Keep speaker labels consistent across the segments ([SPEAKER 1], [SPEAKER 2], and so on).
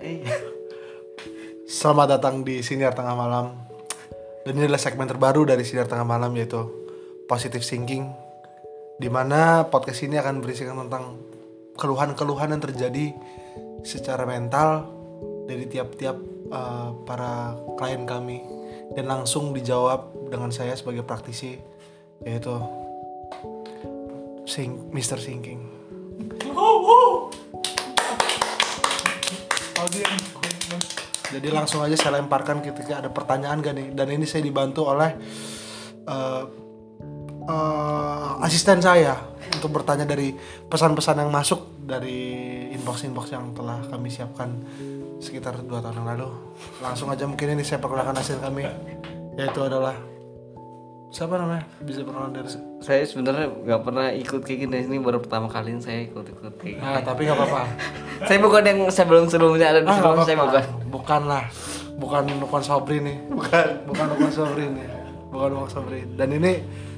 [SPEAKER 1] Eh. Selamat datang di Siniar Tengah Malam Dan ini adalah segmen terbaru dari Siniar Tengah Malam yaitu Positive Thinking Dimana podcast ini akan berisikan tentang keluhan-keluhan yang terjadi secara mental dari tiap-tiap eh, para klien kami Dan langsung dijawab dengan saya sebagai praktisi yaitu Sing, Mr. Thinking Jadi langsung aja saya lemparkan ketika ada pertanyaan gak nih Dan ini saya dibantu oleh eh, eh, asisten saya Untuk bertanya dari pesan-pesan yang masuk dari inbox-inbox yang telah kami siapkan sekitar dua tahun yang lalu Langsung aja mungkin ini saya perkenalkan hasil kami Yaitu adalah Siapa namanya? Bisa perkenalan dari
[SPEAKER 2] saya sebenarnya nggak pernah ikut kayak gini ini baru pertama kali saya ikut ikut kayak gini.
[SPEAKER 1] Nah, tapi nggak apa-apa
[SPEAKER 2] saya bukan yang sebelum sebelumnya ada
[SPEAKER 1] Ah,
[SPEAKER 2] di
[SPEAKER 1] nggak
[SPEAKER 2] sebelum saya
[SPEAKER 1] apa-apa.
[SPEAKER 2] bukan
[SPEAKER 1] Bukan lah. Bukan Nukon Sobri nih. Bukan. Bukan Nukon Sobri nih. Bukan Nukon Sobri. Dan ini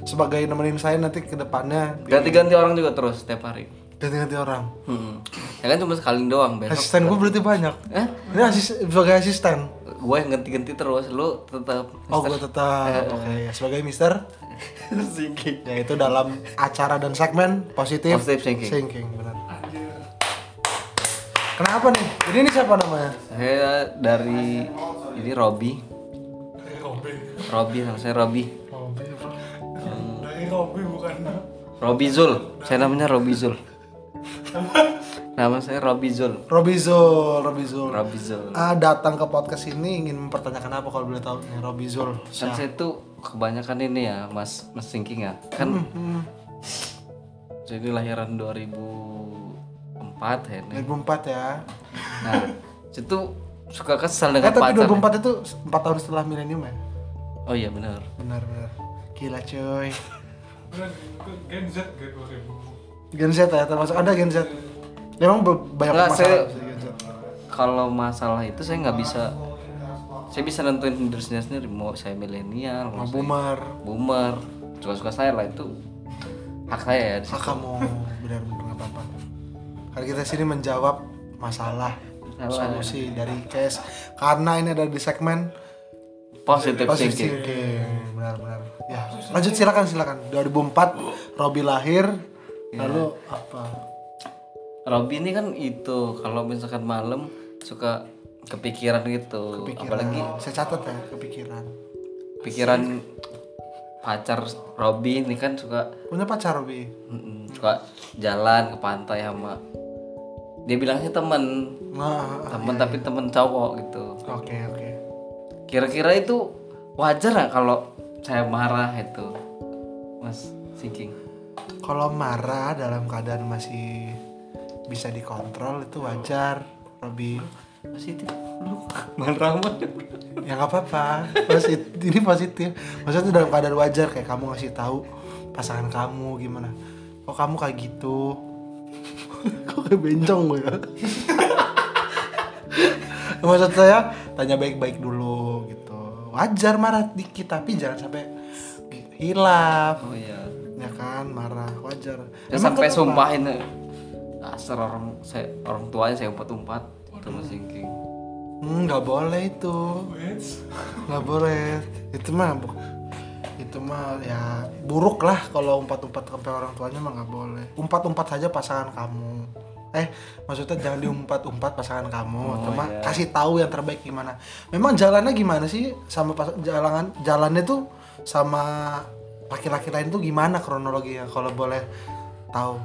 [SPEAKER 1] sebagai nemenin saya nanti ke depannya
[SPEAKER 2] ganti ganti orang juga terus setiap hari
[SPEAKER 1] ganti-ganti orang.
[SPEAKER 2] hmm. ya kan cuma sekali doang besok
[SPEAKER 1] Asisten gue berarti banyak.
[SPEAKER 2] Hah?
[SPEAKER 1] Ini asis- sebagai asisten.
[SPEAKER 2] gue yang ganti ganti terus lu tetap
[SPEAKER 1] Oh, gue
[SPEAKER 2] Eh.
[SPEAKER 1] tetap. Oke, ya. sebagai mister
[SPEAKER 2] singking
[SPEAKER 1] yaitu dalam acara dan segmen positif
[SPEAKER 2] Positive thinking.
[SPEAKER 1] benar. Kenapa nih? Ini nih siapa namanya?
[SPEAKER 2] saya dari ini Robi Robi nama saya Robi
[SPEAKER 1] Robi, bukan.
[SPEAKER 2] Robi Zul saya namanya Robi Zul nama saya Robi Zul
[SPEAKER 1] Robizul, Robizul.
[SPEAKER 2] Robi Zul
[SPEAKER 1] Ah, datang ke podcast ini ingin mempertanyakan apa kalau boleh tahu nih Robi Zul.
[SPEAKER 2] kan saya tuh kebanyakan ini ya mas mas thinking ya
[SPEAKER 1] Hmm,
[SPEAKER 2] kan jadi lahiran 2004 ya ini.
[SPEAKER 1] 2004 ya.
[SPEAKER 2] nah saya tuh suka
[SPEAKER 1] Eh
[SPEAKER 2] kesal dengan
[SPEAKER 1] tapi 2004
[SPEAKER 2] pacar
[SPEAKER 1] itu 4 tahun setelah milenium ya.
[SPEAKER 2] oh iya benar
[SPEAKER 1] Benar benar. Gila cuy.
[SPEAKER 3] Gen Z Gen 2000
[SPEAKER 1] Gen Z ya termasuk ada Gen Z. Ya, Emang be- banyak
[SPEAKER 2] Nggak,
[SPEAKER 1] masalah
[SPEAKER 2] saya-
[SPEAKER 1] sih Gen Z.
[SPEAKER 2] kalau masalah itu saya nggak bisa saya bisa nentuin diri saya sendiri mau saya milenial
[SPEAKER 1] Sama
[SPEAKER 2] mau saya
[SPEAKER 1] Boomer,
[SPEAKER 2] boomer suka suka saya lah itu hak saya ya di situ.
[SPEAKER 1] Sakamu, benar benar nggak apa-apa. Karena kita sini menjawab masalah
[SPEAKER 2] Masalah.
[SPEAKER 1] solusi dari case karena ini ada di segmen
[SPEAKER 2] positive
[SPEAKER 1] Positive
[SPEAKER 2] thinking
[SPEAKER 1] Oh, thinking. Benar-benar. Ya, lanjut silakan silakan. 2004 Robi lahir.
[SPEAKER 2] Ya.
[SPEAKER 1] Lalu apa?
[SPEAKER 2] Robby ini kan itu kalau misalkan malam suka kepikiran gitu
[SPEAKER 1] Pikiran.
[SPEAKER 2] apalagi
[SPEAKER 1] saya catat ya kepikiran.
[SPEAKER 2] pikiran pacar Robby ini kan suka
[SPEAKER 1] Punya pacar Robi.
[SPEAKER 2] mm, suka jalan ke pantai sama dia bilangnya temen
[SPEAKER 1] Nah,
[SPEAKER 2] temen tapi temen cowok gitu
[SPEAKER 1] oke oke.
[SPEAKER 2] kira-kira itu wajar nggak kalau saya marah itu mas Siking
[SPEAKER 1] Kalau marah dalam keadaan masih bisa dikontrol itu wajar, Robi.
[SPEAKER 2] positif lu marah banget
[SPEAKER 1] Ya nggak apa-apa. Posit- ini positif. Maksudnya dalam keadaan wajar kayak kamu ngasih tahu pasangan kamu gimana. Kok kamu kayak gitu? Kok kayak bencong gue ya? Maksud saya tanya baik-baik dulu gitu. Wajar marah dikit tapi jangan sampai hilaf.
[SPEAKER 2] oh iya
[SPEAKER 1] Ya kan marah wajar.
[SPEAKER 2] Ya
[SPEAKER 1] Emang kan-
[SPEAKER 2] sampai
[SPEAKER 1] kenapa?
[SPEAKER 2] sumpahin dasar orang saya orang tuanya saya umpat umpat itu mas Singking.
[SPEAKER 1] Hmm, nggak boleh itu. Nggak boleh. Itu mah bu- itu mah ya buruk lah kalau umpat-umpat sampai orang tuanya mah nggak boleh. Umpat-umpat saja pasangan kamu. Eh, maksudnya jangan diumpat-umpat pasangan kamu, cuma
[SPEAKER 2] iya.
[SPEAKER 1] kasih tahu yang terbaik gimana. Memang jalannya gimana sih sama pas jalan jalannya tuh sama laki-laki lain tuh gimana kronologinya kalau boleh tahu.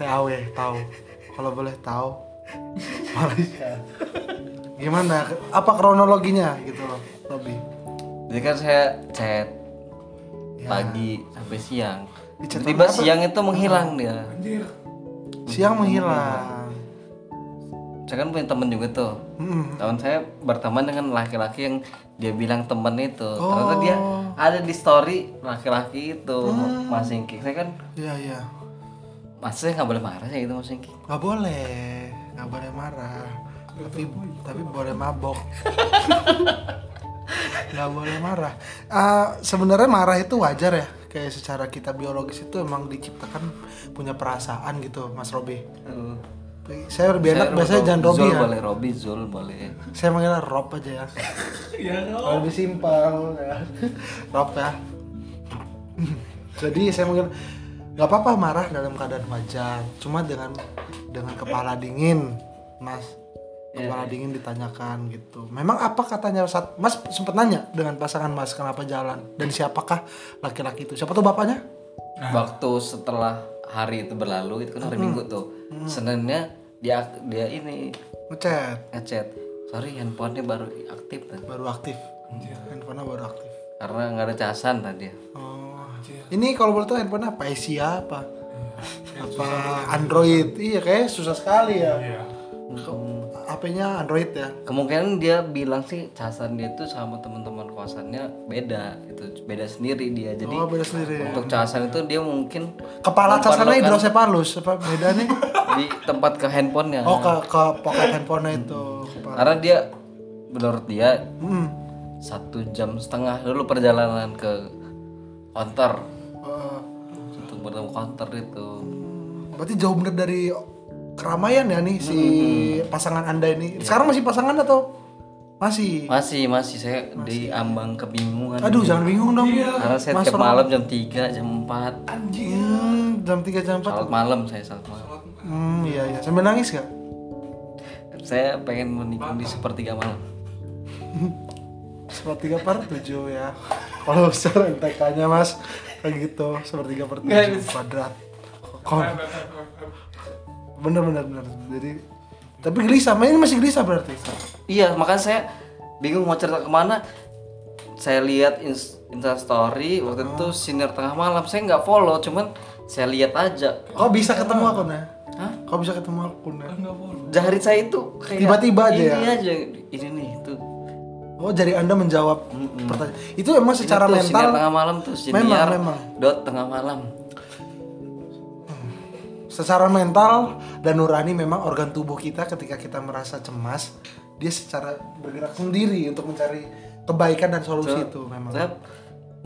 [SPEAKER 1] tahu ya, tahu. Kalau boleh tahu. Malaysia. Gimana? Apa kronologinya gitu loh, Robi?
[SPEAKER 2] Jadi kan saya chat
[SPEAKER 1] Ya.
[SPEAKER 2] pagi sampai siang.
[SPEAKER 1] Di chat
[SPEAKER 2] Tiba-tiba
[SPEAKER 1] apa?
[SPEAKER 2] siang itu menghilang dia.
[SPEAKER 1] Siang menghilang.
[SPEAKER 2] Saya kan punya temen juga tuh.
[SPEAKER 1] Hmm.
[SPEAKER 2] Teman saya berteman dengan laki-laki yang dia bilang temen itu.
[SPEAKER 1] Oh. Hmm.
[SPEAKER 2] Ternyata dia ada di story laki-laki itu Mas Singking. Saya kan
[SPEAKER 1] Iya, iya.
[SPEAKER 2] masih nggak boleh marah ya gitu Mas Singking.
[SPEAKER 1] Gak boleh, gak boleh marah. Tapi tapi boleh mabok. Gak boleh marah. Ah, Sebenarnya marah itu wajar ya. Kayak secara kita biologis itu emang diciptakan punya perasaan gitu, Mas Robi. Saya lebih enak
[SPEAKER 2] Saya
[SPEAKER 1] biasanya
[SPEAKER 2] Rob-
[SPEAKER 1] jangan Robby
[SPEAKER 2] Zul
[SPEAKER 1] ya. Nah.
[SPEAKER 2] boleh Robby Zul boleh
[SPEAKER 1] Saya manggilnya Rob aja ya.
[SPEAKER 3] Ya no.
[SPEAKER 1] Lebih simpel ya. Rob ya. Jadi saya mungkin nggak apa-apa marah dalam keadaan wajar. Cuma dengan dengan kepala dingin, Mas. Kepala dingin ditanyakan gitu. Memang apa katanya saat Mas sempet nanya dengan pasangan Mas kenapa jalan dan siapakah laki-laki itu? Siapa tuh bapaknya?
[SPEAKER 2] waktu setelah hari itu berlalu itu
[SPEAKER 1] Hmm.
[SPEAKER 2] kan hari minggu tuh seninnya dia dia ini
[SPEAKER 1] Ngechat
[SPEAKER 2] ngechat sorry handphonenya baru aktif tadi
[SPEAKER 1] baru aktif. Handphonenya baru aktif.
[SPEAKER 2] karena nggak ada casan tadi
[SPEAKER 1] Oh. Ini kalau boleh tahu handphone apa? Asia apa? apa Android? Iya kayak susah sekali ya.
[SPEAKER 3] Iya.
[SPEAKER 1] HP-nya Android ya.
[SPEAKER 2] kemungkinan dia bilang sih casan dia tuh sama teman-teman kosannya beda itu beda sendiri dia jadi
[SPEAKER 1] Oh, beda sendiri.
[SPEAKER 2] untuk casan itu dia mungkin
[SPEAKER 1] Kepala casannya hidrosepalus apa beda nih?
[SPEAKER 2] di tempat ke handphonenya
[SPEAKER 1] Oh ke ke pocket handphonenya itu. Kepala.
[SPEAKER 2] karena dia menurut dia
[SPEAKER 1] Hmm.
[SPEAKER 2] satu jam setengah dulu perjalanan ke konter
[SPEAKER 1] Eh,
[SPEAKER 2] untuk bertemu konter itu
[SPEAKER 1] berarti jauh bener dari keramaian ya nih si pasangan anda ini. Sekarang masih pasangan atau masih?
[SPEAKER 2] masih masih saya di ambang kebingungan
[SPEAKER 1] Aduh jangan bingung dong.
[SPEAKER 2] karena saya tiap malam jam 3 jam 4
[SPEAKER 1] Hmm, jam 3 jam 4
[SPEAKER 2] salat malam saya salat malam
[SPEAKER 1] Hmm, iya iya. Sambil nangis gak?
[SPEAKER 2] saya pengen menikmati sepertiga malam
[SPEAKER 1] Sepertiga per 7 ya. Kalau besar NTK-nya Mas kayak gitu, sepertiga per 7 kuadrat. Kon. Bener bener bener. Jadi tapi gelisah, main masih gelisah berarti.
[SPEAKER 2] iya makanya saya bingung mau cerita kemana saya lihat ins- instastory waktu itu senior tengah malam saya nggak follow cuman saya lihat aja
[SPEAKER 1] Kok bisa ketemu aku nah?
[SPEAKER 2] Hah?
[SPEAKER 1] Kok bisa ketemu aku nah?
[SPEAKER 3] Enggak boleh.
[SPEAKER 2] jari saya itu kayak
[SPEAKER 1] Tiba-tiba aja
[SPEAKER 2] ini
[SPEAKER 1] ya?
[SPEAKER 2] aja ini nih itu
[SPEAKER 1] Oh, jadi Anda menjawab pertanyaan. Itu emang secara
[SPEAKER 2] Ini tuh senior
[SPEAKER 1] mental
[SPEAKER 2] tengah malam tuh senior
[SPEAKER 1] Memang, memang.
[SPEAKER 2] dot tengah malam
[SPEAKER 1] secara mental dan nurani memang organ tubuh kita ketika kita merasa cemas, dia secara bergerak sendiri untuk mencari kebaikan dan solusi itu memang.
[SPEAKER 2] Saya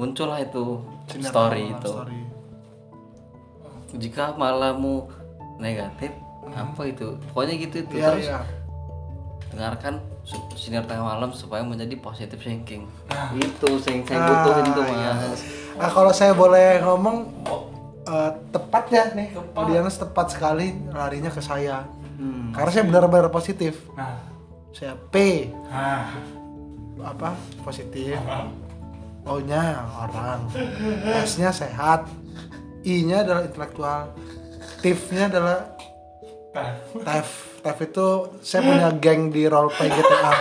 [SPEAKER 2] muncul lah itu
[SPEAKER 1] Senior tengah
[SPEAKER 2] story
[SPEAKER 1] malam,
[SPEAKER 2] itu
[SPEAKER 1] story.
[SPEAKER 2] jika malammu negatif apa itu pokoknya gitu itu
[SPEAKER 1] Iya,
[SPEAKER 2] terus
[SPEAKER 1] iya.
[SPEAKER 2] dengarkan su- senior tengah malam supaya menjadi positive thinking iya. itu sing saya butuhin tuh mas
[SPEAKER 1] Ah, kalau saya boleh ngomong eh, tepat ya nih. Diana tepat sekali larinya ke saya.
[SPEAKER 2] Hmm.
[SPEAKER 1] Karena saya benar-benar positif.
[SPEAKER 3] Nah.
[SPEAKER 1] Saya P
[SPEAKER 3] Nah.
[SPEAKER 1] Ah. apa? Positif. O-nya orang. S-nya sehat. I-nya adalah intelektual. Tif-nya adalah
[SPEAKER 3] Nah.
[SPEAKER 1] Tef. Tef itu saya punya geng di roleplay GTA.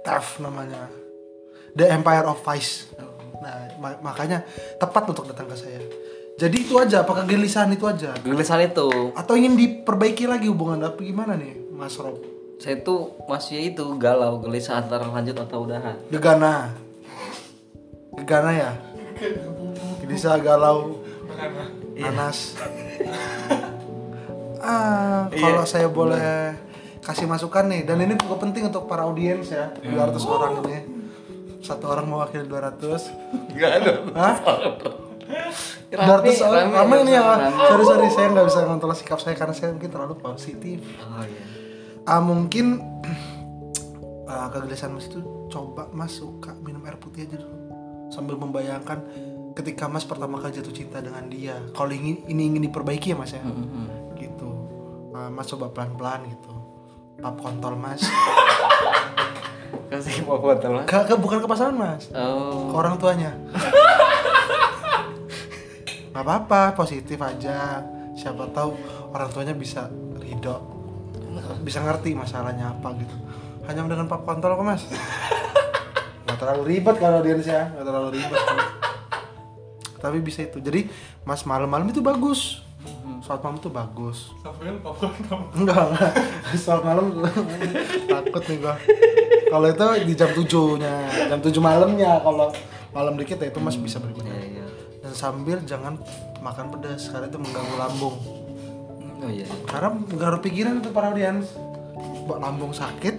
[SPEAKER 1] Tef namanya. The Empire of Vice. Nah, ma- makanya tepat untuk datang ke saya. Jadi itu aja, apa kegelisahan itu aja?
[SPEAKER 2] gelisahan itu
[SPEAKER 1] Atau ingin diperbaiki lagi hubungan apa gimana nih, Mas Rob?
[SPEAKER 2] saya tuh masih itu galau gelisah antara lanjut atau udahan
[SPEAKER 1] Gegana. Gegana ya? Gelisah galau nanas. ah, kalau saya boleh kasih masukan nih dan ini cukup penting untuk para audiens ya, 200 orang ini. Satu orang mewakili 200.
[SPEAKER 2] Gak ada.
[SPEAKER 1] Hah?
[SPEAKER 2] Rame,
[SPEAKER 1] 200 orang
[SPEAKER 2] oh, rame,
[SPEAKER 1] ramai nih ya.
[SPEAKER 2] rame.
[SPEAKER 1] Sorry sorry saya nggak bisa ngontrol sikap saya karena saya mungkin terlalu positif.
[SPEAKER 2] Oh iya.
[SPEAKER 1] Ah mungkin ah, kegelisahan mas itu coba mas suka minum air putih aja dulu sambil membayangkan ketika mas pertama kali jatuh cinta dengan dia. Kalau ingin ini ingin diperbaiki ya mas ya, gitu. Ah, mas coba pelan pelan gitu. Pap kontol mas.
[SPEAKER 2] Kasih mau foto lah.
[SPEAKER 1] Ke, ke- bukan ke pasangan mas,
[SPEAKER 2] Oh.
[SPEAKER 1] ke orang tuanya. Gak apa-apa, positif aja. Siapa tahu orang tuanya bisa ridho bisa ngerti masalahnya apa gitu hanya dengan pak kontol kok mas nggak terlalu ribet kalau audiens ya nggak terlalu ribet tapi bisa itu jadi mas malam-malam itu bagus sholat malam itu bagus
[SPEAKER 3] Sambil popcorn kamu.
[SPEAKER 1] enggak enggak sholat malam takut nih gua kalau itu di jam 7 nya jam 7 malamnya kalau malam dikit ya itu mas bisa
[SPEAKER 2] Iya,
[SPEAKER 1] berguna
[SPEAKER 2] iya.
[SPEAKER 1] dan sambil jangan makan pedas karena itu mengganggu lambung
[SPEAKER 2] Oh iya.
[SPEAKER 1] karena pengaruh pikiran itu para audiens Ba- lambung sakit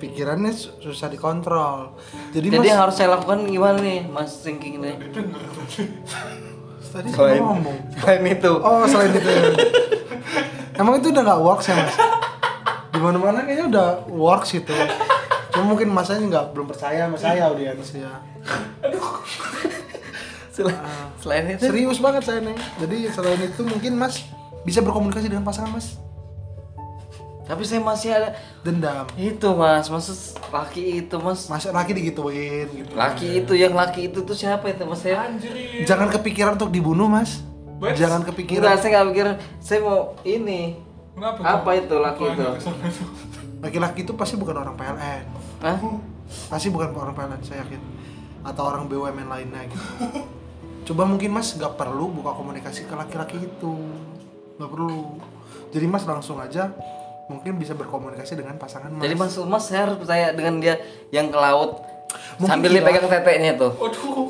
[SPEAKER 1] pikirannya su- susah dikontrol jadi,
[SPEAKER 2] Jadi ya,
[SPEAKER 1] mas
[SPEAKER 2] yang harus saya lakukan gimana nih, Mas Thinking nih?
[SPEAKER 1] tadi saya ngomong
[SPEAKER 2] selain itu.
[SPEAKER 1] oh selain itu ya. Oh, Emang itu udah nggak works ya mas? Dimana mana kayaknya udah works itu. Cuma mungkin masanya nggak belum percaya sama saya audiens ya.
[SPEAKER 2] Sel- selain itu
[SPEAKER 1] Serius banget saya nih. Jadi selain itu mungkin mas bisa berkomunikasi dengan pasangan mas.
[SPEAKER 2] tapi saya masih ada
[SPEAKER 1] Dendam.
[SPEAKER 2] itu mas maksud laki itu mas
[SPEAKER 1] Mas laki digituin gitu.
[SPEAKER 2] laki itu yang laki itu tuh siapa itu mas saya
[SPEAKER 3] Anjir.
[SPEAKER 1] Jangan kepikiran untuk dibunuh mas.
[SPEAKER 3] Wes.
[SPEAKER 1] Jangan
[SPEAKER 2] kira
[SPEAKER 1] kepikiran
[SPEAKER 2] saya nggak pikir saya mau ini
[SPEAKER 3] Kenapa?
[SPEAKER 2] apa
[SPEAKER 3] Kok?
[SPEAKER 2] itu laki
[SPEAKER 3] Kok
[SPEAKER 2] itu
[SPEAKER 3] ada kesana tuh?
[SPEAKER 1] laki-laki itu pasti bukan orang PLN.
[SPEAKER 2] Hah?
[SPEAKER 1] Pasti bukan orang PLN saya yakin. Atau orang BUMN lainnya gitu. Coba mungkin mas nggak perlu buka komunikasi ke laki-laki itu. Nggak perlu. Jadi mas langsung aja mungkin bisa berkomunikasi dengan pasangan mas.
[SPEAKER 2] jadi maksud mas saya harus percaya dengan dia yang ke laut
[SPEAKER 1] Mungkin gitu.
[SPEAKER 2] sambil
[SPEAKER 1] tidak.
[SPEAKER 2] dipegang teteknya tuh
[SPEAKER 3] Waduh.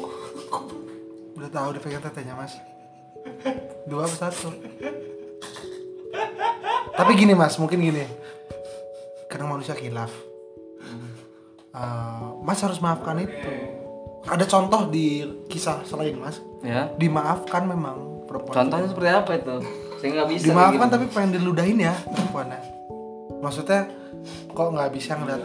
[SPEAKER 1] Udah tahu udah pegang tetenya mas Dua apa satu Tapi gini mas, mungkin gini Kadang manusia khilaf Eh, Mas harus maafkan itu Ada contoh di kisah selain mas
[SPEAKER 2] ya
[SPEAKER 1] Dimaafkan memang perempuan
[SPEAKER 2] contohnya seperti apa itu saya nggak bisa kayak
[SPEAKER 1] Dimaafkan
[SPEAKER 2] gitu.
[SPEAKER 1] tapi pengen diludahin ya perempuannya Maksudnya kok nggak bisa ngeliat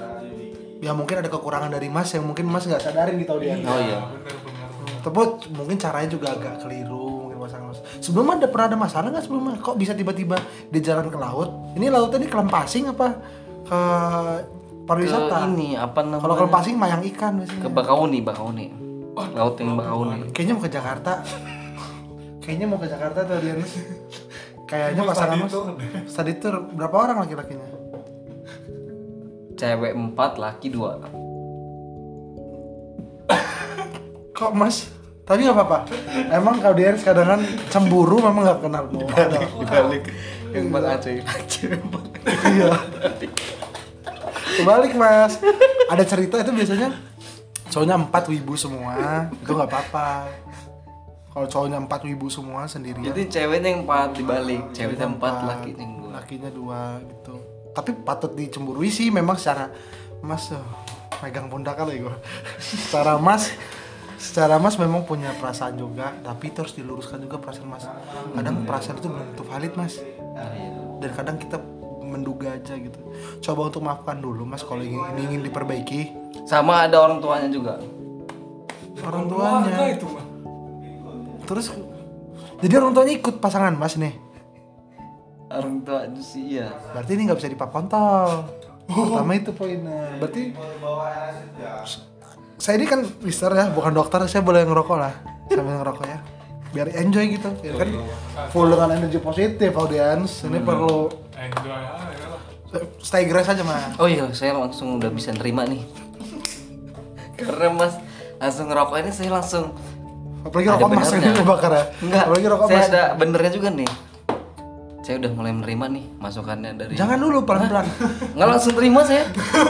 [SPEAKER 1] Ya mungkin ada kekurangan dari mas yang mungkin mas nggak sadarin gitu dia
[SPEAKER 2] oh iya
[SPEAKER 3] Bener bener.
[SPEAKER 1] tapi mungkin caranya juga agak keliru mungkin pasangan mas. Sebelum ada pernah ada masalah nggak sebelumnya? Kok bisa tiba-tiba dia jalan ke laut? Ini lautnya ini kelempasing apa ke
[SPEAKER 2] ke
[SPEAKER 1] pariwisata?
[SPEAKER 2] ini apa namanya
[SPEAKER 1] Kalau kelempasing mayang ikan
[SPEAKER 2] ke
[SPEAKER 1] biasanya.
[SPEAKER 2] Bakauni Bakauni laut yang Bakauni
[SPEAKER 1] Kayaknya mau ke Jakarta. Kayaknya mau ke Jakarta tuh dia Mas. Kayaknya
[SPEAKER 3] Mas
[SPEAKER 1] pasangan
[SPEAKER 3] tadi
[SPEAKER 1] mas.
[SPEAKER 3] tuh.
[SPEAKER 1] Tadi itu berapa orang laki-lakinya?
[SPEAKER 2] cewek empat laki dua
[SPEAKER 1] Kok mas? Tapi nggak apa-apa. Emang kalau dia kadang cemburu memang nggak kenal.
[SPEAKER 2] dibalik yang empat aceh cewek empat
[SPEAKER 1] iya kebalik mas ada cerita itu biasanya cowoknya empat wibu semua itu nggak apa-apa kalau cowoknya empat wibu semua sendirian
[SPEAKER 2] jadi ceweknya yang empat dibalik ceweknya empat
[SPEAKER 1] Iya. Empat,
[SPEAKER 2] lakinya yang dua
[SPEAKER 1] lakinya dua gitu tapi patut dicemburui sih memang secara mas eh, megang pundak kali gue secara mas secara mas memang punya perasaan juga tapi itu harus diluruskan juga perasaan mas kadang perasaan itu belum tentu valid mas dan kadang kita menduga aja gitu coba untuk maafkan dulu mas kalau ingin, ini ingin diperbaiki
[SPEAKER 2] sama ada orang tuanya juga
[SPEAKER 1] orang
[SPEAKER 3] Keluarga
[SPEAKER 1] tuanya
[SPEAKER 3] itu mah.
[SPEAKER 1] terus jadi orang tuanya ikut pasangan mas nih
[SPEAKER 2] orang tua itu sih iya
[SPEAKER 1] berarti ini nggak bisa dipakontol pertama itu poinnya berarti saya ini kan mister ya bukan dokter saya boleh ngerokok lah sambil ngerokok ya biar enjoy gitu ya kan full dengan energi positif audiens ini perlu
[SPEAKER 3] Eh, enjoy aja ya lah.
[SPEAKER 1] stay grace aja mas
[SPEAKER 2] oh iya saya langsung udah bisa nerima nih karena mas langsung ngerokok ini saya langsung
[SPEAKER 1] apalagi
[SPEAKER 2] Ada
[SPEAKER 1] rokok mas
[SPEAKER 2] benernya.
[SPEAKER 1] ini bakar ya
[SPEAKER 2] enggak
[SPEAKER 1] apalagi rokok
[SPEAKER 2] saya
[SPEAKER 1] mas
[SPEAKER 2] ada benernya juga nih saya udah mulai menerima nih masukannya dari
[SPEAKER 1] jangan dulu pelan-pelan
[SPEAKER 2] nggak langsung terima saya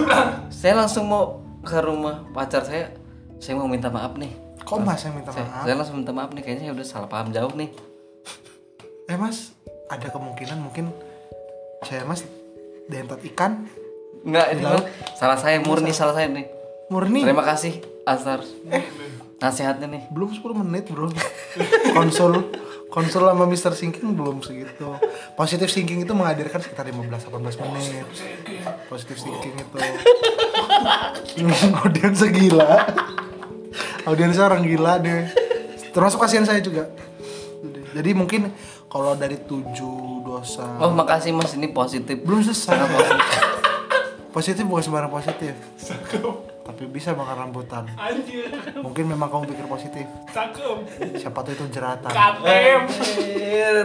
[SPEAKER 2] saya langsung mau ke rumah pacar saya saya mau minta maaf nih
[SPEAKER 1] Kok mas yang minta
[SPEAKER 2] saya,
[SPEAKER 1] maaf?
[SPEAKER 2] saya langsung minta maaf nih kayaknya saya udah salah paham jauh nih
[SPEAKER 1] Eh mas, ada kemungkinan mungkin saya mas dentat ikan
[SPEAKER 2] nggak ini Mas. salah saya murni salah saya nih
[SPEAKER 1] murni.
[SPEAKER 2] terima kasih Azhar
[SPEAKER 1] Eh.
[SPEAKER 2] nasihatnya nih
[SPEAKER 1] Belum 10 menit bro. Konsul konsul sama Mr. Sinking belum segitu. Positif Sinking itu menghadirkan sekitar 15-18 menit. Positif Sinking itu. Audiens segila. Audiensnya orang gila deh. Termasuk kasihan saya juga. Jadi mungkin kalau dari tujuh dosa
[SPEAKER 2] oh makasih mas ini positif
[SPEAKER 1] belum selesai positif positif bukan sembarang positif tapi bisa bakar rambutan
[SPEAKER 3] Anjir.
[SPEAKER 1] mungkin memang kamu pikir positif
[SPEAKER 3] Cakep.
[SPEAKER 1] siapa tuh itu jeratan
[SPEAKER 3] Katem.
[SPEAKER 2] Anjir.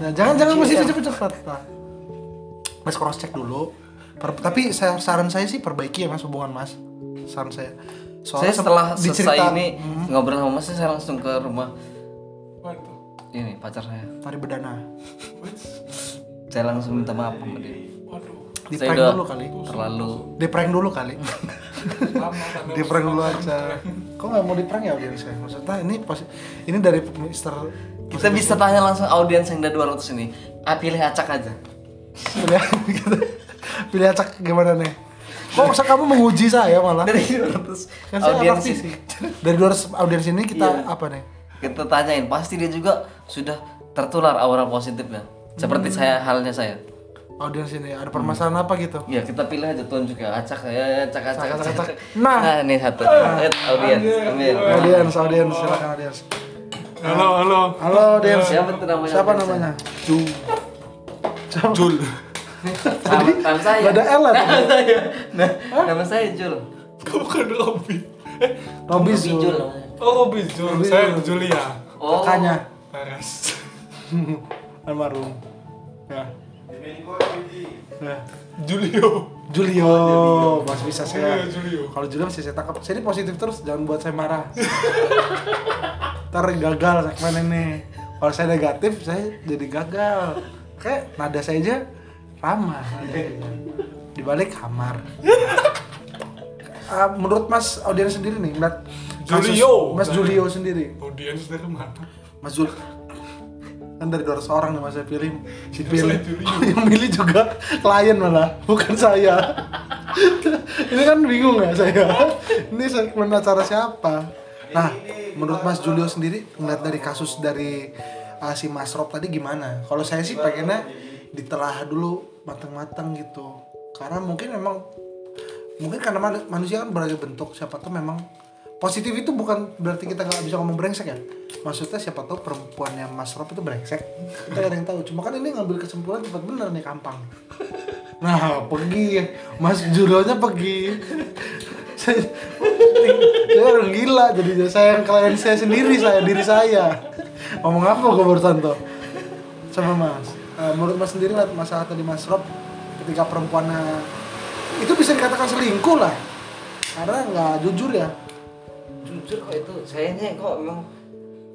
[SPEAKER 1] nah jangan jangan
[SPEAKER 2] Iya,
[SPEAKER 1] positif cepet cepet Nah, mas cross check dulu Per- tapi saya, saran saya sih perbaiki ya mas hubungan mas saran saya
[SPEAKER 2] saya
[SPEAKER 1] Soalnya
[SPEAKER 2] setelah
[SPEAKER 1] sep-
[SPEAKER 2] selesai ini
[SPEAKER 1] Hmm.
[SPEAKER 2] ngobrol sama mas saya langsung ke rumah
[SPEAKER 3] Waduh.
[SPEAKER 2] ini pacar saya
[SPEAKER 1] tari bedana
[SPEAKER 2] saya langsung minta maaf sama dia
[SPEAKER 3] Waduh.
[SPEAKER 1] di
[SPEAKER 2] saya
[SPEAKER 1] prank
[SPEAKER 2] udah
[SPEAKER 1] dulu kali
[SPEAKER 2] terlalu
[SPEAKER 1] di prank dulu kali
[SPEAKER 3] Lama sampai
[SPEAKER 1] di prank dulu aja kok nggak mau di prank ya audiens saya maksudnya ini posi- ini dari Mister
[SPEAKER 2] kita bisa tanya langsung audiens yang udah 200 ini ah, pilih acak aja
[SPEAKER 1] pilihan gitu. pilih acak gimana nih kok masa kamu menguji saya malah
[SPEAKER 2] dari 200
[SPEAKER 1] kan saya
[SPEAKER 2] audiens
[SPEAKER 1] praktisi.
[SPEAKER 2] ini,
[SPEAKER 1] dari 200 audiens ini kita
[SPEAKER 2] Iya.
[SPEAKER 1] apa nih
[SPEAKER 2] kita tanyain pasti dia juga sudah tertular aura positifnya Seperti
[SPEAKER 1] Hmm.
[SPEAKER 2] saya halnya saya.
[SPEAKER 1] audiens ini ada permasalahan apa gitu
[SPEAKER 2] Ya kita pilih aja tunjuk ya acak ya acak acak acak. acak.
[SPEAKER 1] Nah.
[SPEAKER 2] ini satu. Eh, audiens ambil.
[SPEAKER 1] Eh, audiens audiens silakan audiens
[SPEAKER 3] Halo, halo.
[SPEAKER 1] halo audiens
[SPEAKER 2] Siapa tuh namanya?
[SPEAKER 1] siapa
[SPEAKER 2] audiens?
[SPEAKER 1] namanya Ju siapa
[SPEAKER 3] Jul.
[SPEAKER 2] Nama, nama saya.
[SPEAKER 1] Nggak ada L atau?
[SPEAKER 2] Nama saya. Nah, nama saya Jul.
[SPEAKER 3] Kau bukan Robby. Eh,
[SPEAKER 1] Robi
[SPEAKER 2] Robi Jul.
[SPEAKER 1] Zul
[SPEAKER 2] namanya.
[SPEAKER 3] oh Robby Jul.
[SPEAKER 1] Robby
[SPEAKER 3] Saya
[SPEAKER 1] Jul.
[SPEAKER 3] Julia.
[SPEAKER 2] Oh.
[SPEAKER 1] kakaknya
[SPEAKER 3] Peres.
[SPEAKER 1] almarhum ya ya
[SPEAKER 3] Julio.
[SPEAKER 1] Julio, masih bisa saya.
[SPEAKER 3] Oh, Iya, Julio.
[SPEAKER 1] Kalau Julio masih saya tangkap. Saya ini positif terus, jangan buat saya marah. Ntar gagal segmen ini. Kalau saya negatif, saya jadi gagal. Kayak nada saya aja ramah. Di balik kamar. Ah, menurut Mas audiens sendiri nih, melihat kasus
[SPEAKER 3] Julio.
[SPEAKER 1] Mas Julio sendiri.
[SPEAKER 3] Audiens dari mana?
[SPEAKER 1] Mas Jul kan dari 200 orang nih mas saya pilih si pilih
[SPEAKER 3] Saya Julio.
[SPEAKER 1] yang milih juga klien malah bukan saya ini kan bingung ya saya ini segmen acara siapa nah menurut Mas Julio sendiri ngeliat dari kasus dari uh, si Mas Rob tadi gimana kalau saya sih pengennya ditelah dulu matang-matang gitu karena mungkin memang mungkin karena man- manusia kan berbagai bentuk siapa tuh memang positif itu bukan berarti kita nggak bisa ngomong brengsek ya maksudnya siapa tahu perempuannya Mas Rob itu brengsek kita nggak ada yang tahu cuma kan ini ngambil kesimpulan cepat bener nih kampang nah pergi Mas Juronya pergi saya, saya orang gila jadi saya yang klien saya sendiri saya diri saya ngomong apa gue barusan tuh sama Mas Eh, menurut Mas sendiri lah masalah tadi Mas Rob ketika perempuannya itu bisa dikatakan selingkuh lah karena nggak jujur ya
[SPEAKER 2] jujur kok itu sayangnya kok emang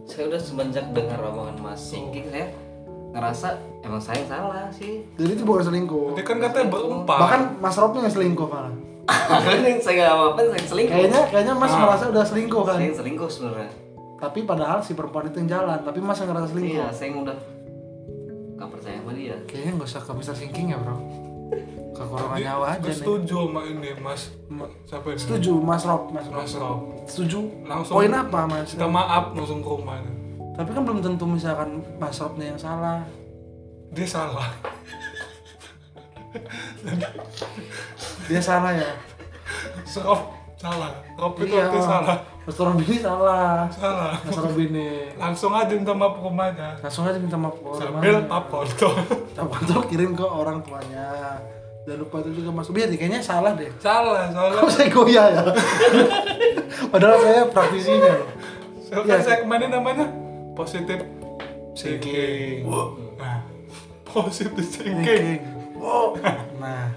[SPEAKER 2] saya udah semenjak dengar omongan Mas Singking saya ngerasa emang saya salah sih
[SPEAKER 1] jadi itu bukan selingkuh
[SPEAKER 3] Dia kan katanya berempat.
[SPEAKER 1] bahkan Mas Rob yang selingkuh malah
[SPEAKER 2] makanya yang saya nggak apa saya yang selingkuh
[SPEAKER 1] kayaknya kayaknya Mas
[SPEAKER 3] Ah.
[SPEAKER 1] merasa udah selingkuh kan
[SPEAKER 2] saya yang selingkuh sebenarnya
[SPEAKER 1] tapi padahal si perempuan itu yang jalan tapi Mas yang ngerasa selingkuh
[SPEAKER 2] iya saya yang udah nggak percaya sama dia
[SPEAKER 1] kayaknya nggak usah ke Mr. Sinking ya bro ke korongan
[SPEAKER 3] Dia-
[SPEAKER 1] nyawa aja
[SPEAKER 3] dia
[SPEAKER 1] nih
[SPEAKER 3] Setuju sama ini Mas. Ma- Siapa ini?
[SPEAKER 1] setuju Mas Rob Mas Rob
[SPEAKER 3] Mas Rob.
[SPEAKER 1] setuju
[SPEAKER 3] Langsung.
[SPEAKER 1] poin apa Mas
[SPEAKER 3] Kita maaf langsung ke rumah.
[SPEAKER 1] tapi kan belum tentu misalkan Mas Robnya yang salah
[SPEAKER 3] Dia salah.
[SPEAKER 1] dia salah ya
[SPEAKER 3] Rob salah. Rob itu artinya salah.
[SPEAKER 1] Iya. Mas Rob ini salah
[SPEAKER 3] Salah.
[SPEAKER 1] Mas Rob ini
[SPEAKER 3] Langsung aja minta maaf ke rumahnya.
[SPEAKER 1] langsung aja minta maaf ke orang
[SPEAKER 3] Sambil
[SPEAKER 1] tuanya.
[SPEAKER 3] tap foto.
[SPEAKER 1] Tap foto kirim ke orang tuanya jangan lupa itu juga masuk biar deh, kayaknya salah deh
[SPEAKER 3] salah, salah.
[SPEAKER 1] kok saya goyah ya padahal saya praktisinya loh
[SPEAKER 3] Siapa
[SPEAKER 1] Iya.
[SPEAKER 3] segmennya namanya? Positif thinking. Nah, positif thinking.
[SPEAKER 1] wow nah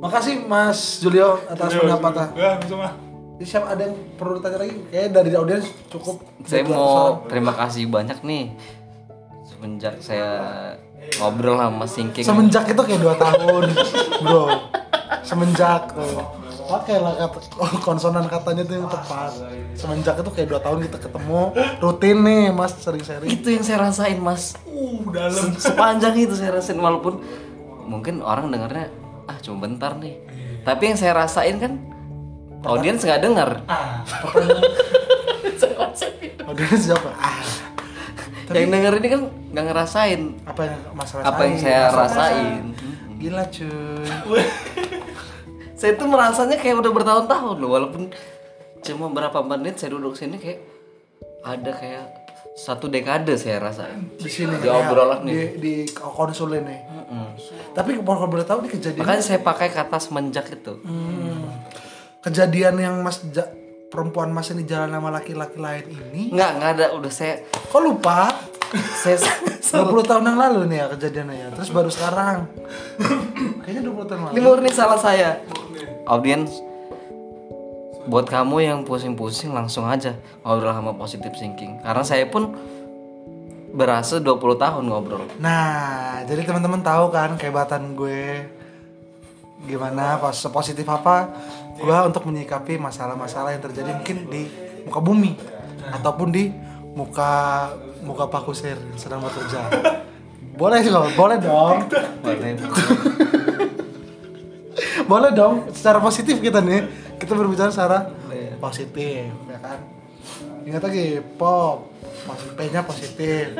[SPEAKER 1] makasih Mas Julio atas pendapatnya
[SPEAKER 3] Ya, langsung ah.
[SPEAKER 1] Jadi siapa ada yang perlu ditanya lagi kayaknya dari audiens cukup
[SPEAKER 2] saya
[SPEAKER 1] Buat
[SPEAKER 2] mau terima kasih banyak nih semenjak saya ngobrol sama Mas Singking
[SPEAKER 1] semenjak itu kayak dua tahun bro semenjak tuh pakailah kata oh, konsonan katanya tuh yang tepat semenjak itu kayak dua tahun kita ketemu rutin nih mas sering-sering
[SPEAKER 2] itu yang saya rasain Mas
[SPEAKER 3] Uh, dalam.
[SPEAKER 2] Se- sepanjang itu saya rasain walaupun mungkin orang dengarnya ah cuma bentar
[SPEAKER 3] Iya.
[SPEAKER 2] nih tapi yang saya rasain kan audiens nggak dengar
[SPEAKER 3] Ah,
[SPEAKER 2] Saya rasain.
[SPEAKER 1] audiens siapa ah
[SPEAKER 2] yang denger ini kan nggak ngerasain
[SPEAKER 1] apa yang mas rasain
[SPEAKER 2] apa yang saya
[SPEAKER 1] Mas
[SPEAKER 2] rasain
[SPEAKER 1] gila cuy
[SPEAKER 2] saya tuh merasanya kayak udah bertahun-tahun loh walaupun cuma berapa menit saya duduk sini kayak ada kayak satu dekade saya rasain
[SPEAKER 1] di sini
[SPEAKER 2] Di obrolan
[SPEAKER 1] di,
[SPEAKER 2] nih.
[SPEAKER 1] di konsulin nih
[SPEAKER 2] Hmm.
[SPEAKER 1] tapi kalau boleh tahu nih kejadian
[SPEAKER 2] makanya saya pakai kata semenjak itu
[SPEAKER 1] kejadian yang mas ja- perempuan mas ini jalan sama laki-laki lain ini
[SPEAKER 2] nggak nggak ada udah saya
[SPEAKER 1] kok lupa
[SPEAKER 2] saya
[SPEAKER 1] 20 tahun yang lalu nih ya kejadiannya ya. Terus baru sekarang. Kayaknya 20 tahun
[SPEAKER 2] Ini
[SPEAKER 1] lalu.
[SPEAKER 2] murni salah saya. Audiens buat kamu yang pusing-pusing langsung aja ngobrol sama positive thinking. Karena saya pun berasa 20 tahun ngobrol.
[SPEAKER 1] Nah, jadi teman-teman tahu kan kehebatan gue gimana pas positif apa gue untuk menyikapi masalah-masalah yang terjadi mungkin di muka bumi ataupun di muka muka Pak Kusir yang sedang bekerja. Boleh juga, boleh dong. boleh dong secara positif kita nih kita berbicara secara positif ya kan ingat lagi pop masuk p nya positif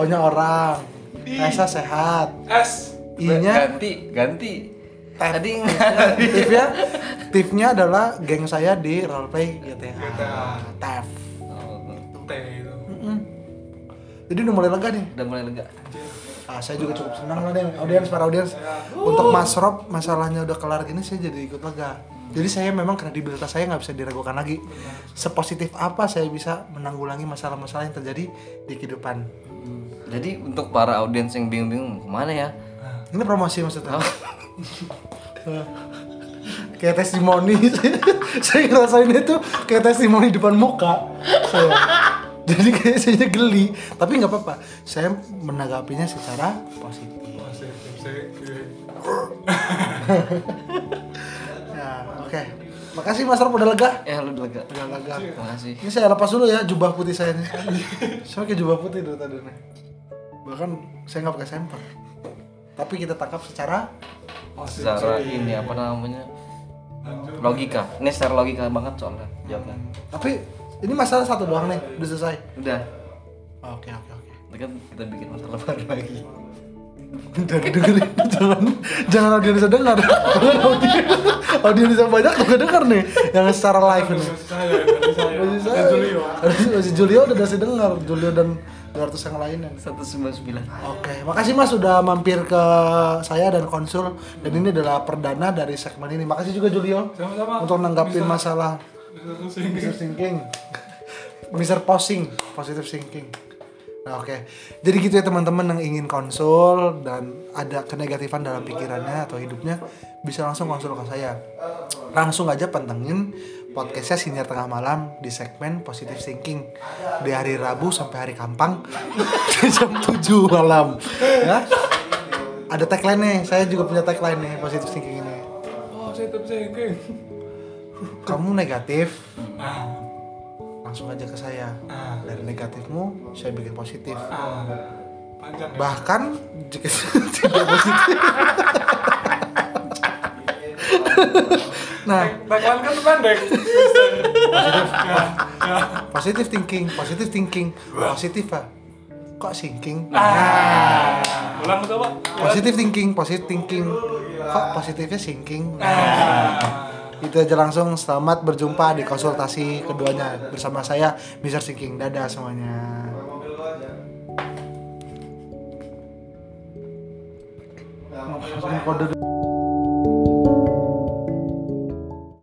[SPEAKER 1] o nya orang
[SPEAKER 3] I.
[SPEAKER 1] Esa sehat.
[SPEAKER 3] S.
[SPEAKER 1] I-nya
[SPEAKER 2] ganti ganti tadi nggak
[SPEAKER 1] tipnya tipnya ya. adalah geng saya di roleplay GTA.
[SPEAKER 3] GTA.
[SPEAKER 1] Tef.
[SPEAKER 3] T itu.
[SPEAKER 1] Jadi udah mulai lega nih.
[SPEAKER 2] udah mulai lega
[SPEAKER 1] Ah, saya juga cukup senang lah deh, audiens para audiens. Untuk Mas Rob masalahnya udah kelar gini saya jadi ikut lega. Jadi saya memang kredibilitas saya nggak bisa diragukan lagi. Sepositif apa saya bisa menanggulangi masalah-masalah yang terjadi di kehidupan.
[SPEAKER 2] jadi untuk para audiens yang bingung-bingung kemana ya
[SPEAKER 1] Ini promosi maksudnya. kayak testimoni. saya ngerasain itu kayak testimoni depan muka. Saya. Jadi kayak saya geli, tapi nggak apa-apa. Saya menanggapinya secara positif.
[SPEAKER 3] Positif saya.
[SPEAKER 1] Nah, oke. Makasih Mas Rob udah lega.
[SPEAKER 2] ya lu udah lega
[SPEAKER 1] Udah lega.
[SPEAKER 2] makasih
[SPEAKER 1] Ini saya lepas dulu ya jubah putih saya ini. saya pakai jubah putih dulu tadi nih. Bahkan saya nggak pakai sempak. Tapi kita tangkap secara
[SPEAKER 2] secara ini apa namanya logika ini secara logika banget soalnya jawabnya
[SPEAKER 1] tapi ini masalah satu doang nih, udah selesai.
[SPEAKER 2] udah
[SPEAKER 1] Oke, oke, oke.
[SPEAKER 2] nanti kan kita bikin masalah baru lagi
[SPEAKER 1] Jangan dengerin, jangan jangan audiens bisa dengar. Jangan audiens audiens yang banyak tuh gak dengar nih, yang secara live ini.
[SPEAKER 3] Saya. Saya. iya.
[SPEAKER 1] Masih saya,
[SPEAKER 3] Dan Julio.
[SPEAKER 1] harus- masih Julio udah kasih dengar, Julio dan 200 yang lainnya.
[SPEAKER 2] 199
[SPEAKER 1] Oke, makasih Mas sudah mampir ke saya dan konsul dan ini adalah perdana dari segmen ini. Makasih juga Julio
[SPEAKER 3] Sama-sama.
[SPEAKER 1] untuk nanggapin
[SPEAKER 3] Bisa-
[SPEAKER 1] masalah
[SPEAKER 3] Bisa pusing.
[SPEAKER 1] Mr. Thinking. Mr. Posing, positive thinking. Nah, oke. Jadi gitu ya teman-teman yang ingin konsul dan ada kenegatifan dalam pikirannya atau hidupnya bisa langsung konsul ke saya. Langsung aja pantengin podcastnya Sinar Tengah Malam di segmen Positive Thinking di hari Rabu sampai hari Kampang jam 7 malam ya. Ada tagline nih, saya juga punya tagline nih Positive Thinking ini.
[SPEAKER 3] Oh, saya tetap thinking.
[SPEAKER 1] Kamu negatif,
[SPEAKER 3] Ah.
[SPEAKER 1] langsung aja ke saya
[SPEAKER 3] Ah.
[SPEAKER 1] dari negatifmu saya bikin positif
[SPEAKER 3] Ah. Panjang ya.
[SPEAKER 1] bahkan jika tidak positif nah
[SPEAKER 3] Tagline kan pendek. Ya, ya.
[SPEAKER 1] positive thinking positive thinking positif ah kok thinking
[SPEAKER 3] Ah. Ulang coba.
[SPEAKER 1] positive thinking positive thinking kok positifnya thinking
[SPEAKER 3] Ah.
[SPEAKER 1] itu aja langsung selamat berjumpa di konsultasi keduanya bersama saya Mr. Thinking dadah semuanya Mau kasih kode dulu.